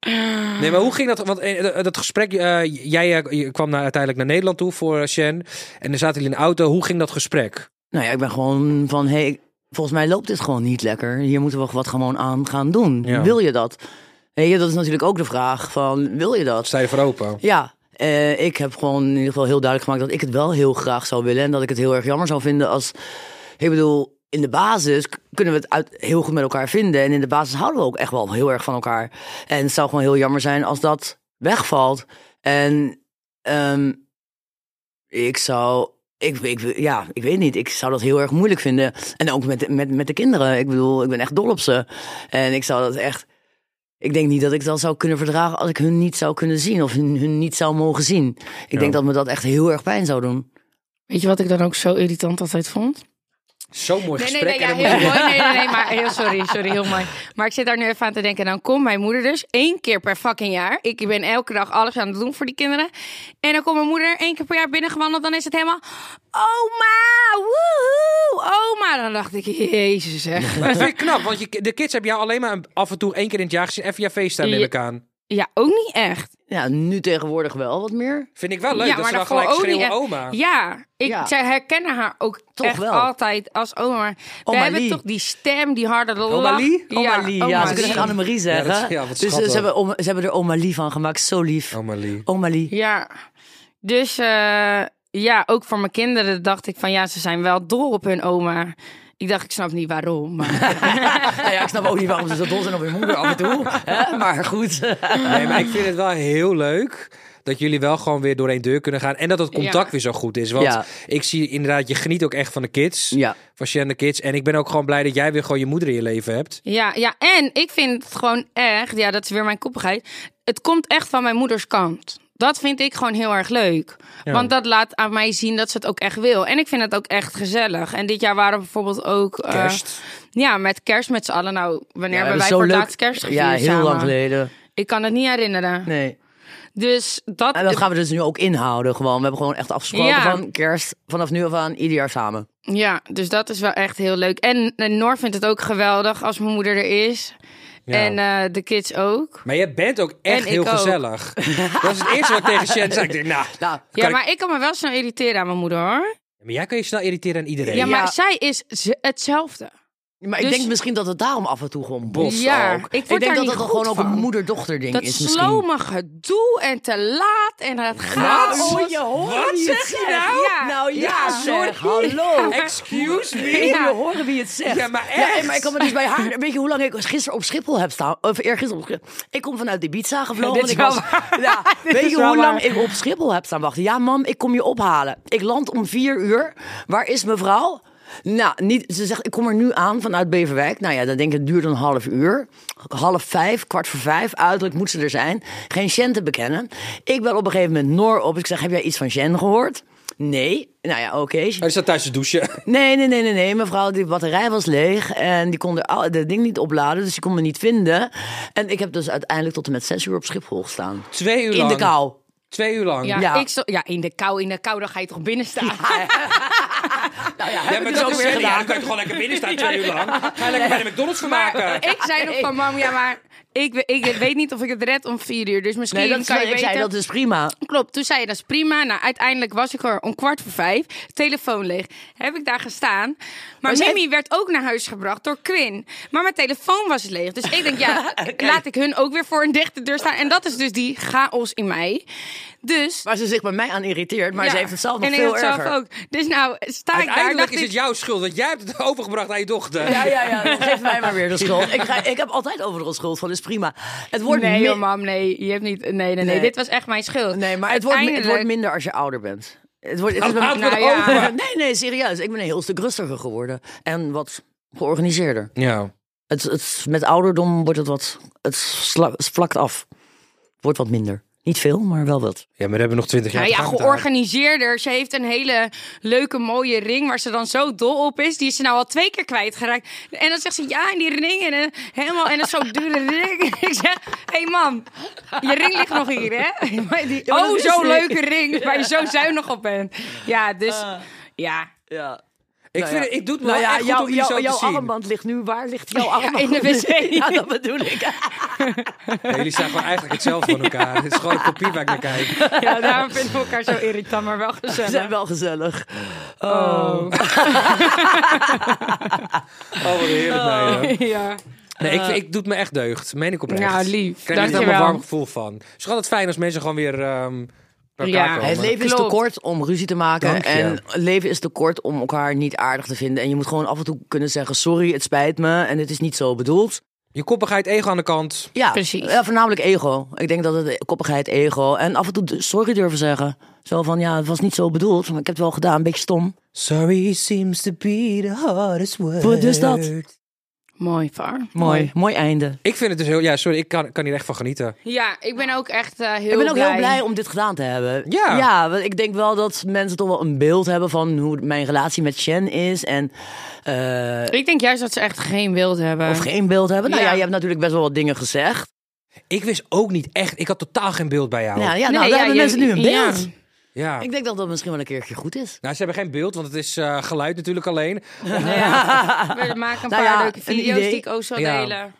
[SPEAKER 3] Ja.
[SPEAKER 2] Nee, maar hoe ging dat? Want eh, eh, dat gesprek, eh, jij eh, je kwam naar, uiteindelijk naar Nederland toe voor eh, Shen. En dan zaten jullie in de auto. Hoe ging dat gesprek?
[SPEAKER 5] Nou ja, ik ben gewoon van, hé, hey, volgens mij loopt dit gewoon niet lekker. Hier moeten we wat gewoon aan gaan doen.
[SPEAKER 2] Ja.
[SPEAKER 5] Wil je dat? Weet je, dat is natuurlijk ook de vraag van, wil je dat?
[SPEAKER 2] Sta je voor open?
[SPEAKER 5] Ja, eh, ik heb gewoon in ieder geval heel duidelijk gemaakt dat ik het wel heel graag zou willen. En dat ik het heel erg jammer zou vinden als... Ik bedoel, in de basis k- kunnen we het uit, heel goed met elkaar vinden. En in de basis houden we ook echt wel heel erg van elkaar. En het zou gewoon heel jammer zijn als dat wegvalt. En ehm, ik zou... Ik, ik, ja, ik weet niet. Ik zou dat heel erg moeilijk vinden. En ook met, met, met de kinderen. Ik bedoel, ik ben echt dol op ze. En ik zou dat echt... Ik denk niet dat ik dat zou kunnen verdragen als ik hun niet zou kunnen zien of hun, hun niet zou mogen zien. Ik denk dat me dat echt heel erg pijn zou doen.
[SPEAKER 3] Weet je wat ik dan ook zo irritant altijd vond?
[SPEAKER 2] Zo'n mooi
[SPEAKER 3] Nee, nee,
[SPEAKER 2] gesprek.
[SPEAKER 3] nee, ja,
[SPEAKER 2] en dan moet
[SPEAKER 3] heel
[SPEAKER 2] je-
[SPEAKER 3] mooi. Nee, nee, nee, maar heel sorry, sorry, heel mooi. Maar ik zit daar nu even aan te denken. Dan komt mijn moeder dus één keer per fucking jaar. Ik ben elke dag alles aan het doen voor die kinderen. En dan komt mijn moeder één keer per jaar binnengewandeld. Dan is het helemaal, oma, woehoe, oma. Dan dacht ik, jezus zeg.
[SPEAKER 2] Maar dat vind ik knap, want je, de kids hebben jou alleen maar een- af en toe één keer in het jaar gezien. Even via FaceTime neem
[SPEAKER 3] Ja.
[SPEAKER 2] ik aan.
[SPEAKER 3] Ja, ook niet echt.
[SPEAKER 5] Ja, nu tegenwoordig wel wat meer.
[SPEAKER 2] Vind ik wel leuk
[SPEAKER 3] ja,
[SPEAKER 2] dat ze dan
[SPEAKER 3] daarvoor
[SPEAKER 2] gelijk
[SPEAKER 3] ook niet
[SPEAKER 2] schreeuwen
[SPEAKER 3] echt.
[SPEAKER 2] oma.
[SPEAKER 3] Ja, ik,
[SPEAKER 5] Ja.
[SPEAKER 3] zij herkennen haar ook
[SPEAKER 5] Toch
[SPEAKER 3] echt
[SPEAKER 5] wel.
[SPEAKER 3] altijd als oma. Maar We
[SPEAKER 5] Oma
[SPEAKER 3] hebben
[SPEAKER 5] Lee.
[SPEAKER 3] toch die stem, die harde lach.
[SPEAKER 2] Oma Lee?
[SPEAKER 5] Oma Lee, ja,
[SPEAKER 3] oma
[SPEAKER 5] ze kunnen
[SPEAKER 3] Lee.
[SPEAKER 5] echt Annemarie zeggen.
[SPEAKER 2] dat is- ja, wat
[SPEAKER 5] dus eh,
[SPEAKER 2] schattig.
[SPEAKER 5] ze hebben, oma- ze hebben er Oma Lee van gemaakt, zo lief.
[SPEAKER 2] Oma Lee.
[SPEAKER 5] Oma Lee.
[SPEAKER 3] Ja, dus eh, ja, ook voor mijn kinderen dacht ik van ja, ze zijn wel dol op hun oma. Ik dacht, ik snap niet waarom. Maar...
[SPEAKER 5] Nou ja, ik snap ook niet waarom ze zo dol zijn op hun moeder af en toe. hè, Maar goed.
[SPEAKER 2] Nee, maar ik vind het wel heel leuk dat jullie wel gewoon weer door één deur kunnen gaan. En dat het contact
[SPEAKER 3] Ja.
[SPEAKER 2] weer zo goed is. Want
[SPEAKER 5] Ja.
[SPEAKER 2] ik zie inderdaad, je geniet ook echt van de kids.
[SPEAKER 5] Ja.
[SPEAKER 2] Van Shen de kids. En ik ben ook gewoon blij dat jij weer gewoon je moeder in je leven hebt.
[SPEAKER 3] Ja, ja, en ik vind het gewoon echt, ja, dat is weer mijn koppigheid. Het komt echt van mijn moeders kant. Dat vind ik gewoon heel erg leuk. Want dat laat aan mij zien dat ze het ook echt wil. En ik vind het ook echt gezellig. En dit jaar waren we bijvoorbeeld ook... eh,
[SPEAKER 2] Kerst.
[SPEAKER 3] ja, met kerst met z'n allen. Nou, wanneer
[SPEAKER 5] Ja,
[SPEAKER 3] hebben wij
[SPEAKER 5] zo
[SPEAKER 3] voor het
[SPEAKER 5] leuk-
[SPEAKER 3] laatst kerst gevierd
[SPEAKER 5] Ja, heel
[SPEAKER 3] samen?
[SPEAKER 5] lang geleden.
[SPEAKER 3] Ik kan het niet herinneren.
[SPEAKER 5] Nee.
[SPEAKER 3] Dus dat...
[SPEAKER 5] En dat gaan we dus nu ook inhouden gewoon. We hebben gewoon echt afgesproken
[SPEAKER 3] Ja.
[SPEAKER 5] van kerst vanaf nu af aan ieder jaar samen.
[SPEAKER 3] Ja, dus dat is wel echt heel leuk. En eh, Noor vindt het ook geweldig als mijn moeder er is. En eh, de kids ook.
[SPEAKER 2] Maar je bent ook echt
[SPEAKER 3] En
[SPEAKER 2] heel
[SPEAKER 3] ik ook.
[SPEAKER 2] gezellig. Dat is het eerste wat ik tegen Shen zei. Ik denk, nou,
[SPEAKER 5] Nou,
[SPEAKER 3] Ja,
[SPEAKER 2] Kan ik-
[SPEAKER 3] maar ik kan me wel snel irriteren aan mijn moeder hoor.
[SPEAKER 2] maar jij kan je snel irriteren aan iedereen.
[SPEAKER 3] Ja, maar
[SPEAKER 5] Ja.
[SPEAKER 3] zij is ze- hetzelfde.
[SPEAKER 5] Maar ik
[SPEAKER 3] Dus-
[SPEAKER 5] denk misschien dat het daarom af en toe gewoon botst
[SPEAKER 3] Ja,
[SPEAKER 5] ook.
[SPEAKER 3] ik word
[SPEAKER 5] denk
[SPEAKER 3] daar
[SPEAKER 5] dat
[SPEAKER 3] niet
[SPEAKER 5] dat dan
[SPEAKER 3] goed
[SPEAKER 5] gewoon ook
[SPEAKER 3] van.
[SPEAKER 5] een moeder-dochter ding
[SPEAKER 3] Dat
[SPEAKER 5] is misschien.
[SPEAKER 3] slome gedoe en te laat en het gaat.
[SPEAKER 5] Nou, je hoort
[SPEAKER 2] Wat
[SPEAKER 5] wie het
[SPEAKER 2] zeg je
[SPEAKER 5] zegt.
[SPEAKER 2] nou?
[SPEAKER 5] Ja, nou ja,
[SPEAKER 3] Ja,
[SPEAKER 5] zeg, hallo.
[SPEAKER 2] Excuse me.
[SPEAKER 3] Ja.
[SPEAKER 5] Je horen wie het zegt.
[SPEAKER 2] Ja, maar
[SPEAKER 5] Ja,
[SPEAKER 2] echt.
[SPEAKER 5] maar ik kan me dus bij haar... Weet je hoe lang ik gisteren op Schiphol heb staan? Of eergisteren op Schiphol. Ik kom vanuit Ibiza gevlogen.
[SPEAKER 3] Dit is
[SPEAKER 5] want ik
[SPEAKER 3] wel
[SPEAKER 5] was, ja, Weet
[SPEAKER 3] is
[SPEAKER 5] je
[SPEAKER 3] wel
[SPEAKER 5] hoe lang
[SPEAKER 3] waar.
[SPEAKER 5] ik op Schiphol heb staan wachten? Ja, mam, ik kom je ophalen. Ik land om vier uur. Waar is mevrouw? Nou, niet, ze zegt, ik kom er nu aan vanuit Beverwijk. Nou ja, dan denk ik, het duurt een half uur. Half vijf, kwart voor vijf. Uiterlijk moet ze er zijn. Geen Shen te bekennen. Ik bel op een gegeven moment Noor op. Ik zeg, heb jij iets van Shen gehoord? Nee. Nou ja, oké.
[SPEAKER 2] Hij Oh, staat thuis te douchen.
[SPEAKER 5] Nee, nee, nee, nee, nee. Mevrouw, die batterij was leeg. En die kon de, al- de ding niet opladen. Dus die kon me niet vinden. En ik heb dus uiteindelijk tot en met zes uur op Schiphol gestaan.
[SPEAKER 2] Twee uur
[SPEAKER 5] In
[SPEAKER 2] lang.
[SPEAKER 5] de kou.
[SPEAKER 2] Twee uur lang.
[SPEAKER 3] Ja,
[SPEAKER 5] Ja.
[SPEAKER 3] Ik zo, ja, in de kou, in de kou, dan ga je toch binnen staan.
[SPEAKER 2] Ja, maar
[SPEAKER 5] dus
[SPEAKER 2] dat
[SPEAKER 5] ook
[SPEAKER 2] is
[SPEAKER 5] weer
[SPEAKER 2] weer
[SPEAKER 5] gedaan.
[SPEAKER 2] ja, dan kan je toch gewoon lekker binnen staan twee uur lang. Ga je lekker bij de McDonald's van maken.
[SPEAKER 3] Maar ik zei nog van, mam, ja, maar ik, we- ik weet niet of ik het red om vier uur. Dus misschien
[SPEAKER 5] Nee, dat is,
[SPEAKER 3] kan je
[SPEAKER 5] ik
[SPEAKER 3] beter...
[SPEAKER 5] zei, dat is prima.
[SPEAKER 3] Klopt, toen zei je dat is prima. Nou, uiteindelijk was ik er om kwart voor vijf. Telefoon leeg. Heb ik daar gestaan. Maar,
[SPEAKER 5] Maar zij-
[SPEAKER 3] Mimi werd ook naar huis gebracht door Quinn. Maar mijn telefoon was leeg. Dus ik denk, ja, laat ik hun ook weer voor een dichte deur staan. En dat is dus die chaos in mij. Dus...
[SPEAKER 5] Waar ze zich bij mij aan irriteert. Maar
[SPEAKER 3] ja,
[SPEAKER 5] ze heeft het zelf nog
[SPEAKER 3] en ik
[SPEAKER 5] veel
[SPEAKER 3] had het zelf
[SPEAKER 5] erger.
[SPEAKER 3] ook. Dus nou, sta ik daar.
[SPEAKER 2] Uiteindelijk
[SPEAKER 3] dacht
[SPEAKER 2] is
[SPEAKER 3] ik,
[SPEAKER 2] het jouw schuld, want jij hebt het overgebracht aan je dochter.
[SPEAKER 5] Ja, ja, ja. dat Geeft mij maar weer de schuld. Ik, ga- ik heb altijd overal schuld van. Is prima. Het wordt
[SPEAKER 3] Nee,
[SPEAKER 5] mi-
[SPEAKER 3] joh, mam, nee. Je hebt niet... Nee, nee, nee,
[SPEAKER 5] Nee.
[SPEAKER 3] Dit was echt mijn schuld.
[SPEAKER 5] Nee, maar het wordt, mi- het wordt
[SPEAKER 3] Uiteindelijk-
[SPEAKER 5] minder als je ouder bent. Het wordt, het is
[SPEAKER 2] Laten we
[SPEAKER 3] Nou
[SPEAKER 2] het
[SPEAKER 3] ja.
[SPEAKER 2] over.
[SPEAKER 5] nee, nee, serieus. Ik ben een heel stuk rustiger geworden. En wat georganiseerder.
[SPEAKER 2] Ja.
[SPEAKER 5] Het, het, met ouderdom wordt het wat. Het sla- het vlakt af. Wordt wat minder. Niet veel, maar wel wat.
[SPEAKER 2] Ja, maar we hebben nog twintig jaar
[SPEAKER 3] Nou ja,
[SPEAKER 2] te gaan met haar.
[SPEAKER 3] georganiseerder. Ze heeft een hele leuke, mooie ring waar ze dan zo dol op is. Die is ze nou al twee keer kwijtgeraakt. En dan zegt ze ja, en die ring. En eh, helemaal, en dat is zo'n dure ring. En ik zeg, hé hey man, je ring ligt nog hier, hè? Maar die-
[SPEAKER 5] maar dat
[SPEAKER 3] oh,
[SPEAKER 5] is
[SPEAKER 3] zo'n
[SPEAKER 5] die.
[SPEAKER 3] leuke ring waar je zo zuinig op bent. Ja, dus ja.
[SPEAKER 5] Nou Ja.
[SPEAKER 2] Ik, vind, het- ik doe het me wel echt goed om jullie zo
[SPEAKER 5] jouw
[SPEAKER 2] te zien.
[SPEAKER 5] armband ligt nu. Waar ligt jouw armband?
[SPEAKER 3] in de wc.
[SPEAKER 5] Ja, dat bedoel ik.
[SPEAKER 2] Ja, jullie zijn gewoon eigenlijk hetzelfde van elkaar. Het is gewoon een kopie waar ik naar kijk.
[SPEAKER 3] ja, daarom vinden we elkaar zo irritant, maar wel
[SPEAKER 5] Ze
[SPEAKER 3] gezellig.
[SPEAKER 5] zijn wel gezellig.
[SPEAKER 2] Oh, wat heerlijk. Nee, hoor.
[SPEAKER 3] Ja.
[SPEAKER 2] nee ik, ik doe het me echt deugd. Meen ik oprecht.
[SPEAKER 3] Nou,
[SPEAKER 2] Ik
[SPEAKER 3] lief.
[SPEAKER 2] krijg er echt helemaal
[SPEAKER 3] Dankjewel.
[SPEAKER 2] een warm gevoel van. Het is altijd fijn als mensen gewoon weer ehm bij elkaar
[SPEAKER 3] Ja.
[SPEAKER 2] komen.
[SPEAKER 5] Het leven is te
[SPEAKER 3] Klopt.
[SPEAKER 5] kort om ruzie te maken.
[SPEAKER 2] Dank je.
[SPEAKER 5] En het leven is te kort om elkaar niet aardig te vinden. En je moet gewoon af en toe kunnen zeggen: sorry, het spijt me. En het is niet zo bedoeld.
[SPEAKER 2] Je koppigheid, ego aan de kant.
[SPEAKER 5] Ja,
[SPEAKER 3] Precies.
[SPEAKER 5] Ja, voornamelijk ego. Ik denk dat het koppigheid, ego. En af en toe sorry durven zeggen. Zo van ja, het was niet zo bedoeld. Maar ik heb het wel gedaan. Een beetje stom.
[SPEAKER 2] Sorry seems to be the hardest word.
[SPEAKER 5] Wat is dat?
[SPEAKER 3] Mooi, Var.
[SPEAKER 5] Mooi. Mooi einde.
[SPEAKER 2] Ik vind het dus heel... Ja, sorry, ik kan, kan hier echt van genieten.
[SPEAKER 3] Ja, ik ben ook echt eh, heel
[SPEAKER 5] Ik ben ook
[SPEAKER 3] blij.
[SPEAKER 5] heel blij om dit gedaan te hebben.
[SPEAKER 2] Ja.
[SPEAKER 5] ja, want ik denk wel dat mensen toch wel een beeld hebben van hoe mijn relatie met Shen is. En eh,
[SPEAKER 3] Ik denk juist dat ze echt geen wild hebben.
[SPEAKER 5] of geen beeld hebben. Nou
[SPEAKER 3] Ja.
[SPEAKER 5] ja. je hebt natuurlijk best wel wat dingen gezegd.
[SPEAKER 2] Ik wist ook niet echt... Ik had totaal geen beeld bij jou.
[SPEAKER 5] Nou ja, nou,
[SPEAKER 3] Nee,
[SPEAKER 5] daar
[SPEAKER 3] ja,
[SPEAKER 5] hebben
[SPEAKER 3] je-
[SPEAKER 5] mensen nu een
[SPEAKER 3] ja.
[SPEAKER 5] beeld.
[SPEAKER 2] Ja.
[SPEAKER 5] Ik denk dat dat misschien wel een keertje goed is.
[SPEAKER 2] Nou, ze hebben geen beeld, want het is eh, geluid natuurlijk alleen.
[SPEAKER 3] We maken een
[SPEAKER 5] Nou
[SPEAKER 3] paar
[SPEAKER 5] ja,
[SPEAKER 3] leuke
[SPEAKER 5] een
[SPEAKER 3] video's
[SPEAKER 5] idee.
[SPEAKER 3] die ik ook zal
[SPEAKER 2] Ja.
[SPEAKER 3] delen.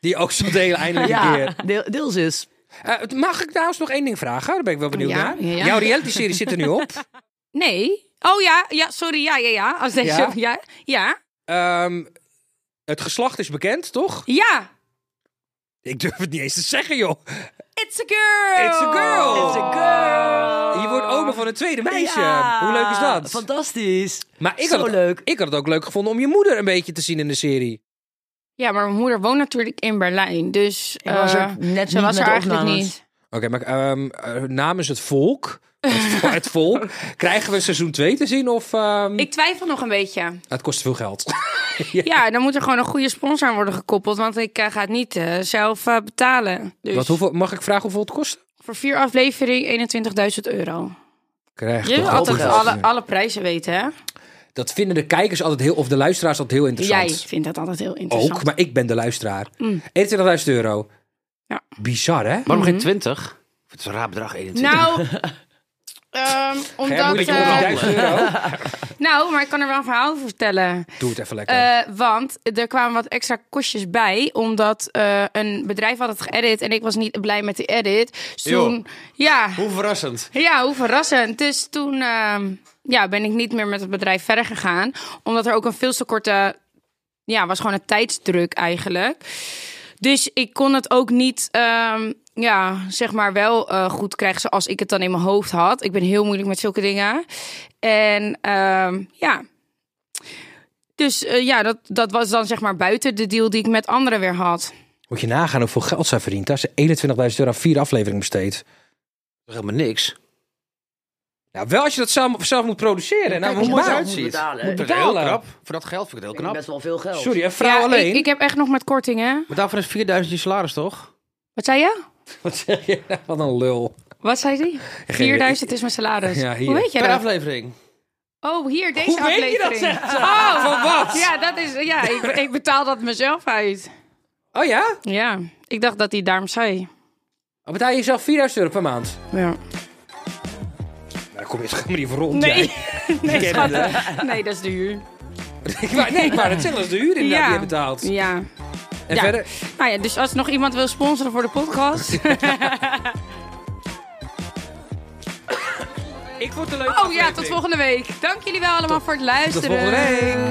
[SPEAKER 2] Die ook zo delen eindelijk een keer.
[SPEAKER 5] deel- deels is.
[SPEAKER 2] Eh, mag ik trouwens nog één ding vragen? Daar ben ik wel benieuwd
[SPEAKER 3] Ja,
[SPEAKER 2] naar.
[SPEAKER 3] ja, ja.
[SPEAKER 2] Jouw reality-serie zit er nu op.
[SPEAKER 3] Nee. Oh ja, ja, sorry, ja, ja, ja. Als deze,
[SPEAKER 2] Ja?
[SPEAKER 3] ja, ja, ja.
[SPEAKER 2] Ehm, het geslacht is bekend, toch? Ik durf het niet eens te zeggen, joh.
[SPEAKER 3] It's a girl.
[SPEAKER 2] It's a girl. It's a
[SPEAKER 5] girl.
[SPEAKER 2] Je wordt oma van een tweede meisje.
[SPEAKER 5] Nou Ja.
[SPEAKER 2] Hoe leuk is dat?
[SPEAKER 5] Fantastisch.
[SPEAKER 2] maar ik
[SPEAKER 5] zo
[SPEAKER 2] had, het,
[SPEAKER 5] leuk.
[SPEAKER 2] ik had het ook leuk gevonden om je moeder een beetje te zien in de serie.
[SPEAKER 3] Ja, maar mijn moeder woont natuurlijk in Berlijn, dus
[SPEAKER 5] Ik was er
[SPEAKER 3] eh,
[SPEAKER 5] net niet
[SPEAKER 3] ze was
[SPEAKER 5] met
[SPEAKER 3] er
[SPEAKER 5] de
[SPEAKER 3] eigenlijk
[SPEAKER 5] opnames.
[SPEAKER 3] niet.
[SPEAKER 2] Oké, maar ehm, eh, namens het volk, het, het volk, krijgen we seizoen 2 te zien of...
[SPEAKER 5] Hm.
[SPEAKER 2] ehm,
[SPEAKER 3] Ik twijfel nog een beetje.
[SPEAKER 2] Het kost veel geld.
[SPEAKER 3] Ja, dan moet er gewoon een goede sponsor aan worden gekoppeld, want ik eh, ga het niet eh, zelf eh, betalen. Dus
[SPEAKER 2] Wat, hoeveel, mag ik vragen hoeveel het kost?
[SPEAKER 3] voor vier aflevering 21.000 euro.
[SPEAKER 2] Krijg
[SPEAKER 3] Je wil altijd
[SPEAKER 5] geld.
[SPEAKER 3] alle, alle prijzen weten, hè?
[SPEAKER 2] Dat vinden de kijkers altijd heel, of de luisteraars altijd heel
[SPEAKER 3] Jij
[SPEAKER 2] interessant.
[SPEAKER 3] vindt dat altijd heel interessant. Mm.
[SPEAKER 2] Ook, maar ik ben de luisteraar. 21.000 euro.
[SPEAKER 3] Ja.
[SPEAKER 2] Bizar, hè?
[SPEAKER 1] Waarom geen 20? Het is een raar bedrag, 21.
[SPEAKER 3] Nou, ehm,
[SPEAKER 2] Hè,
[SPEAKER 3] omdat...
[SPEAKER 2] moet ik
[SPEAKER 3] eh,
[SPEAKER 2] 100.000 euro?
[SPEAKER 3] nou, maar ik kan er wel een verhaal over vertellen.
[SPEAKER 2] Doe het even lekker.
[SPEAKER 3] Eh, want er kwamen wat extra kostjes bij, omdat eh, een bedrijf had het geëdit en ik was niet blij met de edit. Dus Toen,
[SPEAKER 1] Joh.
[SPEAKER 3] ja,
[SPEAKER 1] Hoe verrassend.
[SPEAKER 3] ja, hoe verrassend. Dus toen ehm, ja, ben ik niet meer met het bedrijf verder gegaan, omdat er ook een veel te korte, ja, was gewoon een tijdsdruk eigenlijk. Dus ik kon het ook niet, ehm, ja, zeg maar wel eh, goed krijgen zoals ik het dan in mijn hoofd had. Ik ben heel moeilijk met zulke dingen. En ehm, ja. Dus eh, ja, dat, dat was dan zeg maar buiten de deal die ik met anderen weer had.
[SPEAKER 2] Moet je nagaan hoeveel geld zij verdient. Als ze 21.000 euro aan vier afleveringen besteedt.
[SPEAKER 1] Dat is helemaal niks.
[SPEAKER 2] Nou, wel als je dat zelf, zelf moet produceren. Nou, hoe
[SPEAKER 5] je
[SPEAKER 2] moet
[SPEAKER 5] moet
[SPEAKER 2] je
[SPEAKER 5] het
[SPEAKER 2] uitzien?
[SPEAKER 5] uitziet. betalen.
[SPEAKER 1] Moet
[SPEAKER 2] Moet
[SPEAKER 1] heel
[SPEAKER 2] betalen.
[SPEAKER 1] knap. Voor dat geld vind ik het heel knap.
[SPEAKER 5] Best wel veel geld.
[SPEAKER 2] Sorry, een vrouw
[SPEAKER 3] ja,
[SPEAKER 2] alleen.
[SPEAKER 3] Ik, ik heb echt nog met kortingen.
[SPEAKER 1] Maar daarvoor is 4000 je salaris, toch?
[SPEAKER 3] Wat zei je?
[SPEAKER 2] Wat zeg je nou? Wat een lul.
[SPEAKER 3] Wat zei die? 4000 is mijn salaris.
[SPEAKER 2] Ja, hier.
[SPEAKER 3] Hoe weet jij
[SPEAKER 1] Per
[SPEAKER 3] dat?
[SPEAKER 1] aflevering.
[SPEAKER 3] Oh, hier, deze
[SPEAKER 2] Hoe weet je
[SPEAKER 3] aflevering.
[SPEAKER 2] dat, zegt ze?
[SPEAKER 3] Oh,
[SPEAKER 2] Van wat?
[SPEAKER 3] Ja, dat is, ja ik, ik betaal dat mezelf uit.
[SPEAKER 2] Oh ja?
[SPEAKER 3] Ja, ik dacht dat hij daarom zei.
[SPEAKER 2] Dan Betaal Oh, je jezelf 4000 euro per maand?
[SPEAKER 3] Ja.
[SPEAKER 2] Nou, daar kom je toch helemaal niet voor rond,
[SPEAKER 3] Nee,
[SPEAKER 2] jij. eh,
[SPEAKER 3] nee, schat. nee, dat is duur.
[SPEAKER 2] Ik wou- nee, maar het zelfs de huur inderdaad die je betaalt.
[SPEAKER 3] Ja.
[SPEAKER 2] En
[SPEAKER 3] Ja.
[SPEAKER 2] verder...
[SPEAKER 3] Nou ja, dus als nog iemand wil sponsoren voor de podcast.
[SPEAKER 2] Ik vond het een leuke
[SPEAKER 3] Oh ja, tot volgende week. Dank jullie wel allemaal voor het luisteren.
[SPEAKER 2] volgende week.